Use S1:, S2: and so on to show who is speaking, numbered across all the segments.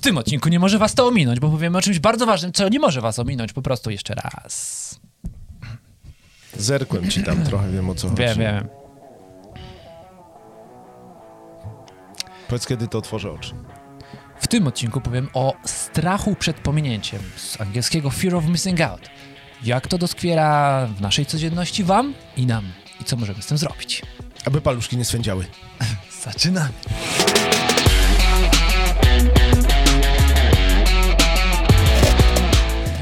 S1: tym odcinku nie może was to ominąć, bo powiemy o czymś bardzo ważnym, co nie może was ominąć po prostu jeszcze raz.
S2: Zerkłem ci tam trochę, wiem o co chodzi.
S1: Wiem, wiem.
S2: Powiedz, kiedy to otworzę oczy.
S1: W tym odcinku powiem o strachu przed pominięciem, z angielskiego Fear of Missing Out. Jak to doskwiera w naszej codzienności wam i nam i co możemy z tym zrobić.
S2: Aby paluszki nie swędziały.
S1: Zaczynamy.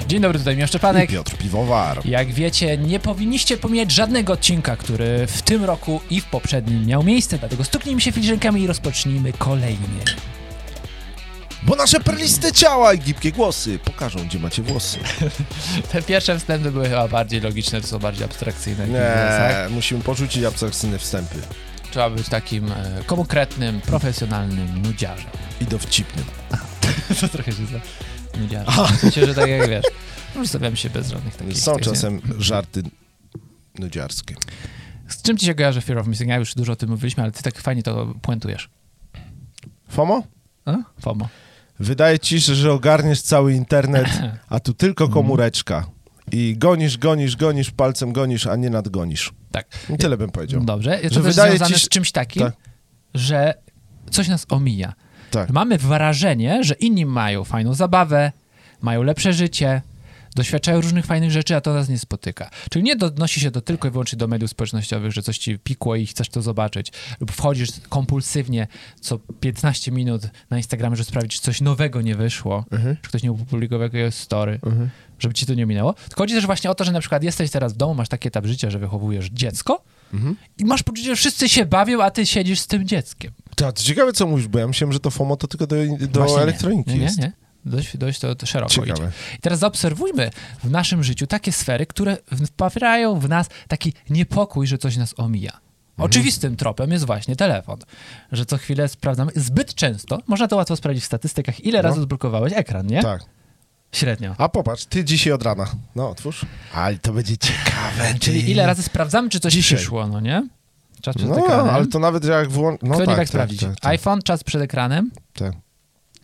S1: Dzień dobry, tutaj Miał Szczepanek.
S2: I Piotr Piwowar.
S1: Jak wiecie, nie powinniście pomijać żadnego odcinka, który w tym roku i w poprzednim miał miejsce, dlatego stuknijmy się filiżankami i rozpocznijmy kolejny.
S2: Bo nasze perliste ciała i gibkie głosy pokażą, gdzie macie włosy.
S1: Te pierwsze wstępy były chyba bardziej logiczne, to są bardziej abstrakcyjne. tak?
S2: Nie, musimy porzucić abstrakcyjne wstępy.
S1: Trzeba być takim e, konkretnym, profesjonalnym nudziarzem.
S2: I dowcipnym.
S1: to trochę się za... Nudziarzem. Myślę, że tak jak wiesz. Już stawiam się bez żadnych takich...
S2: Są
S1: tych,
S2: czasem żarty nudziarskie.
S1: nie- Z czym ci się kojarzy Fear of Missing Out? Już dużo o tym mówiliśmy, ale ty tak fajnie to puentujesz.
S2: FOMO?
S1: A? FOMO.
S2: Wydaje ci się, że ogarniesz cały internet, a tu
S1: Mm.
S2: tylko komóreczka. I gonisz, gonisz, gonisz, palcem gonisz, a nie nadgonisz.
S1: Tak.
S2: I tyle bym powiedział.
S1: Dobrze. Jest
S2: Że
S1: to też
S2: wydaje
S1: związane
S2: ci się-
S1: z czymś takim,
S2: Tak.
S1: że coś nas omija.
S2: Tak.
S1: Mamy wrażenie, że inni mają fajną zabawę, mają lepsze życie, doświadczają różnych fajnych rzeczy, a to nas nie spotyka. Czyli nie odnosi się to tylko i wyłącznie do mediów społecznościowych, że coś ci pikło i chcesz to zobaczyć, lub wchodzisz kompulsywnie co 15 minut na Instagramie, żeby sprawdzić, czy coś nowego nie wyszło, czy ktoś nie opublikował jakiegoś story, żeby ci to nie minęło. Tylko chodzi też właśnie o to, że na przykład jesteś teraz w domu, masz taki etap życia, że wychowujesz dziecko i masz poczucie, że wszyscy się bawią, a ty siedzisz z tym dzieckiem.
S2: Ta, to ciekawe, co mówisz, bo ja myślałem, że to FOMO to tylko do, do
S1: Właśnie nie.
S2: elektroniki
S1: nie, nie,
S2: jest.
S1: Nie, Dość, dość to, to szeroko
S2: Ciekawe.
S1: idzie. I teraz zaobserwujmy w naszym życiu takie sfery, które wprawiają w nas taki niepokój, że coś nas omija.
S2: Mhm.
S1: Oczywistym tropem jest właśnie telefon, że co chwilę sprawdzamy, zbyt często, można to łatwo sprawdzić w statystykach, ile razy odblokowałeś ekran, nie?
S2: No. Tak.
S1: Średnio.
S2: A popatrz, ty dzisiaj od rana. No, otwórz. Ale to będzie ciekawe.
S1: Czyli ile razy sprawdzamy, czy coś
S2: Dzisiaj.
S1: przyszło, no nie? Czas przed
S2: No,
S1: ekranem.
S2: ale to nawet jak włącz... No
S1: Kto nie
S2: tak,
S1: tak,
S2: tak,
S1: sprawdzić?
S2: tak, tak,
S1: iPhone, czas przed ekranem.
S2: tak.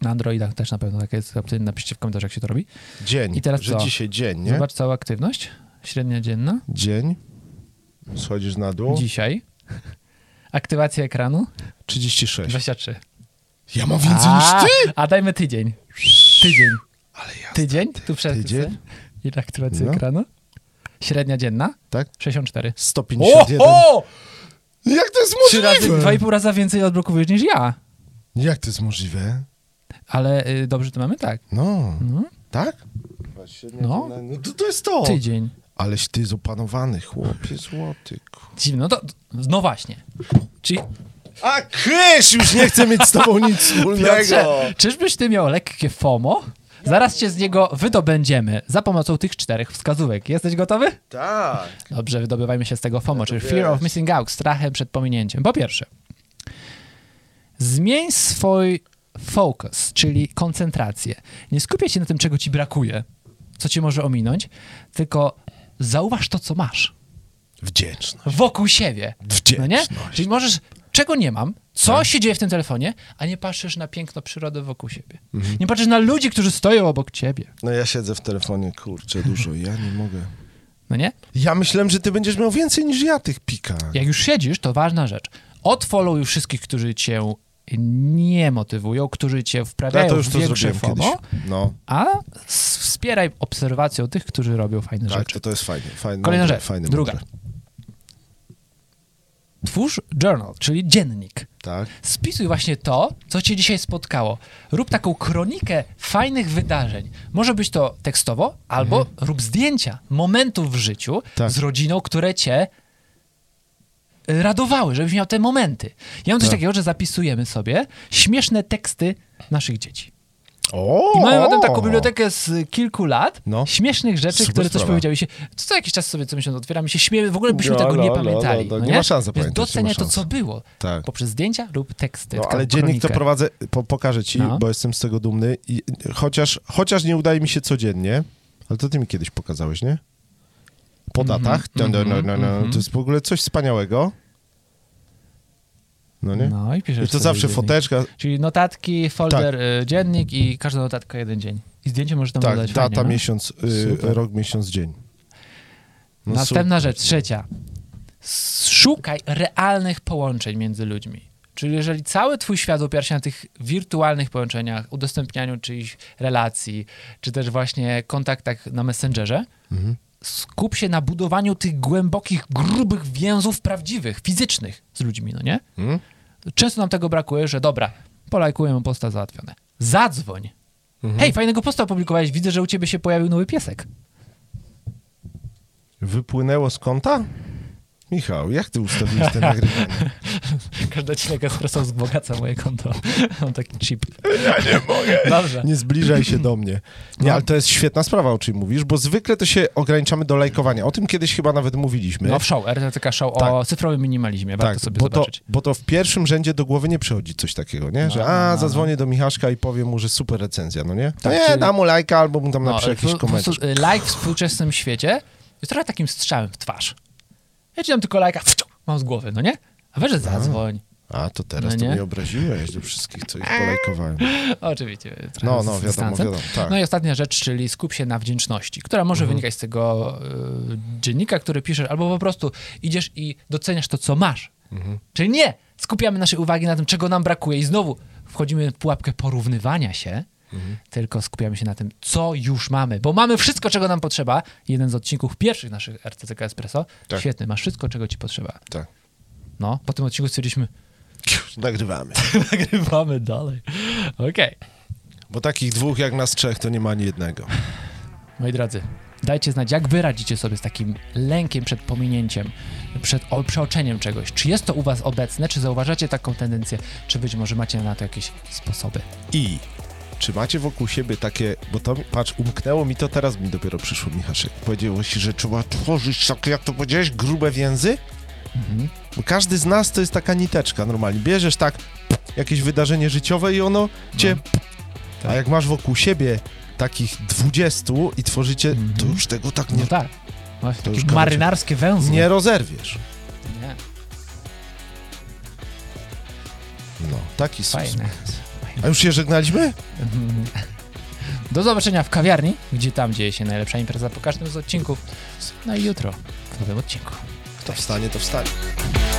S1: Na Androidach też na pewno tak jest. Napiszcie w komentarzach, jak się to robi.
S2: Dzień.
S1: I teraz
S2: że
S1: co?
S2: dzisiaj dzień, nie?
S1: Zobacz całą aktywność, średnia dzienna.
S2: Dzień. Schodzisz na dół.
S1: dzisiaj. Aktywacja ekranu
S2: 36.
S1: 23.
S2: Ja mam więcej niż ty!
S1: A dajmy tydzień. Tydzień.
S2: Ale ja...
S1: Tydzień? Tu przed.
S2: Tydzień?
S1: Ile aktywacji
S2: No.
S1: ekranu? Średnia dzienna
S2: Tak?
S1: 64.
S2: 151. Jak to jest
S1: Trzy razy,
S2: możliwe?
S1: dwa i pół razy więcej odblokowujesz niż ja.
S2: Jak to jest możliwe?
S1: Ale y, dobrze to mamy tak.
S2: No.
S1: No.
S2: Tak?
S1: No.
S2: No to, to jest to.
S1: Tydzień.
S2: Aleś ty jest opanowany, chłopie złoty. ku-
S1: Dziwno, to, no właśnie. Czyli,
S2: A Kryś, już nie chcę mieć z tobą nic wspólnego.
S1: Piotrze, czyżbyś ty miał lekkie FOMO? Zaraz cię z niego wydobędziemy za pomocą tych czterech wskazówek. Jesteś gotowy?
S2: Tak.
S1: Dobrze, wydobywajmy się z tego FOMO, czyli
S2: wiesz.
S1: Fear of Missing Out, strachem przed pominięciem. Po pierwsze, zmień swój focus, czyli koncentrację. Nie skupiaj się na tym, czego ci brakuje, co cię może ominąć, tylko zauważ to, co masz
S2: Wdzięczny.
S1: wokół siebie. No nie?
S2: Wdzięczność. Tak.
S1: Czyli możesz, czego nie mam, co się dzieje w tym telefonie, a nie patrzysz na piękno przyrody wokół siebie.
S2: Mhm.
S1: Nie patrzysz na ludzi, którzy stoją obok ciebie.
S2: No ja siedzę w telefonie, kurczę, dużo, ja nie mogę.
S1: No nie?
S2: Ja myślałem, że ty będziesz miał więcej niż ja tych pika.
S1: Jak już siedzisz, to ważna rzecz. Odfollowuj wszystkich, którzy cię nie motywują, którzy cię
S2: Ja
S1: wprawiają
S2: to już
S1: w
S2: to
S1: większe
S2: zrobiłem kiedyś.
S1: FOMO,
S2: No,
S1: a s- wspieraj obserwacją tych, którzy robią fajne
S2: tak,
S1: rzeczy.
S2: to, to jest fajne. fajne
S1: Kolejna
S2: mądre,
S1: rzecz,
S2: Fajne,
S1: druga.
S2: mądre.
S1: Twórz journal, czyli dziennik.
S2: Tak.
S1: Spisuj właśnie to, co cię dzisiaj spotkało. Rób taką kronikę fajnych wydarzeń. Może być to tekstowo, albo rób zdjęcia momentów w życiu
S2: Mhm. Tak.
S1: z rodziną, które cię y, radowały, żebyś miał te momenty. Ja mam coś
S2: Tak.
S1: takiego, że zapisujemy sobie śmieszne teksty naszych dzieci.
S2: O!
S1: I mamy potem taką bibliotekę z kilku lat
S2: No.
S1: śmiesznych rzeczy,
S2: Super
S1: które coś
S2: sprawa.
S1: powiedziały się. Co, co jakiś czas sobie co miesiąc otwieramy się, śmiejemy, w ogóle byśmy
S2: No,
S1: tego nie
S2: no, no,
S1: pamiętali.
S2: no,
S1: no
S2: nie ma
S1: Więc
S2: szans zapamiętać, nie ma
S1: Doceniaj to,
S2: szans.
S1: co było.
S2: Tak.
S1: Poprzez zdjęcia lub teksty.
S2: No,
S1: taką
S2: ale dziennik to
S1: kronikę.
S2: prowadzę, po, pokażę ci,
S1: No.
S2: bo jestem z tego dumny. I, chociaż, chociaż nie udaje mi się codziennie, ale to ty mi kiedyś pokazałeś, nie?
S1: Mhm,
S2: Po datach. No, no, no, no, no. To jest w ogóle coś wspaniałego. No nie?
S1: No i piszesz
S2: I to
S1: sobie
S2: zawsze
S1: dziennik. No,
S2: foteczka,
S1: Czyli notatki, folder, y, dziennik i każda notatka jeden dzień. I zdjęcie możesz tam
S2: tak,
S1: dodać.
S2: data,
S1: fajnie, no?
S2: miesiąc, y,
S1: Super.
S2: rok, miesiąc, dzień. No
S1: Następna rzecz, trzecia. S- Szukaj realnych połączeń między ludźmi. Czyli jeżeli cały twój świat opiera się na tych wirtualnych połączeniach, udostępnianiu czyichś relacji, czy też właśnie kontaktach na Messengerze,
S2: Mhm.
S1: skup się na budowaniu tych głębokich, grubych więzów prawdziwych, fizycznych z ludźmi, no nie?
S2: super. Mhm.
S1: Często nam tego brakuje, że dobra, polajkuję posta załatwione. Zadzwoń.
S2: Mhm.
S1: Hej, fajnego posta opublikowałeś, widzę, że u ciebie się pojawił nowy piesek.
S2: Wypłynęło z konta? Michał, jak ty ustawiłeś te nagrywanie?
S1: Każdy odcinek Espresso wzbogaca moje konto. Mam taki chip. Ja nie mogę. Dobrze.
S2: Nie zbliżaj się do mnie.
S1: No.
S2: Nie, ale to jest świetna sprawa, o czym mówisz, bo zwykle to się ograniczamy do lajkowania. O tym kiedyś chyba nawet mówiliśmy. Tak,
S1: No w show, RTTK show o cyfrowym minimalizmie, warto sobie
S2: bo to,
S1: zobaczyć.
S2: bo to w pierwszym rzędzie do głowy nie przychodzi coś takiego, nie? Że
S1: No, no,
S2: a,
S1: no,
S2: zadzwonię do Michaszka i powiem mu, że super recenzja, no nie?
S1: Tak,
S2: nie,
S1: czyli- No,
S2: dam mu lajka albo mu tam napiszę
S1: ale
S2: jakiś
S1: po- po prostu,
S2: komentarz.
S1: y, Like w współczesnym świecie jest trochę takim strzałem w twarz. Ja ci dam tylko lajka, like, mam z głowy, no nie? A weź że zadzwoń.
S2: A, to teraz
S1: No
S2: to
S1: nie?
S2: mnie obraziłeś do wszystkich, co ich polajkowałem.
S1: Oczywiście. trochę
S2: No,
S1: z
S2: no, wiadomo,
S1: dystansem.
S2: wiadomo, tak. Mhm.
S1: No i ostatnia rzecz, czyli skup się na wdzięczności, która może wynikać z tego y, dziennika, który piszesz, albo po prostu idziesz i doceniasz to, co masz.
S2: Mhm.
S1: Czyli nie, skupiamy nasze uwagi na tym, czego nam brakuje i znowu wchodzimy w pułapkę porównywania się,
S2: Mhm.
S1: tylko skupiamy się na tym, co już mamy, bo mamy wszystko, czego nam potrzeba. Jeden z odcinków pierwszych naszych RCCK Espresso.
S2: Tak.
S1: Świetny, masz wszystko, czego ci potrzeba.
S2: Tak.
S1: No, po tym odcinku stwierdziliśmy,
S2: Nagrywamy.
S1: nagrywamy dalej. Okej.
S2: Bo takich dwóch jak nas trzech to nie ma ani jednego.
S1: Moi drodzy, dajcie znać, jak wy radzicie sobie z takim lękiem przed pominięciem, przed o, przeoczeniem czegoś. Czy jest to u was obecne, czy zauważacie taką tendencję, czy być może macie na to jakieś sposoby.
S2: I czy macie wokół siebie takie, bo to, patrz, umknęło mi to, teraz mi dopiero przyszło, Michaszek. Powiedziałeś, że trzeba tworzyć takie, jak to powiedziałeś, grube więzy?
S1: Mhm.
S2: Bo każdy z nas to jest taka niteczka normalnie. Bierzesz tak jakieś wydarzenie życiowe i ono cię...
S1: No. Tak.
S2: A jak masz wokół siebie takich 20 i tworzycie,
S1: Mhm.
S2: to już tego tak
S1: No
S2: nie,
S1: tak, właśnie
S2: to już
S1: takie
S2: kończę.
S1: marynarskie węzły.
S2: nie rozerwiesz.
S1: Nie.
S2: No, taki sposób.
S1: Fajne.
S2: A już się żegnaliśmy?
S1: Mhm. Do zobaczenia w kawiarni, gdzie tam dzieje się najlepsza impreza po każdym z odcinków. No i jutro w nowym odcinku.
S2: Kto wstanie, to wstanie.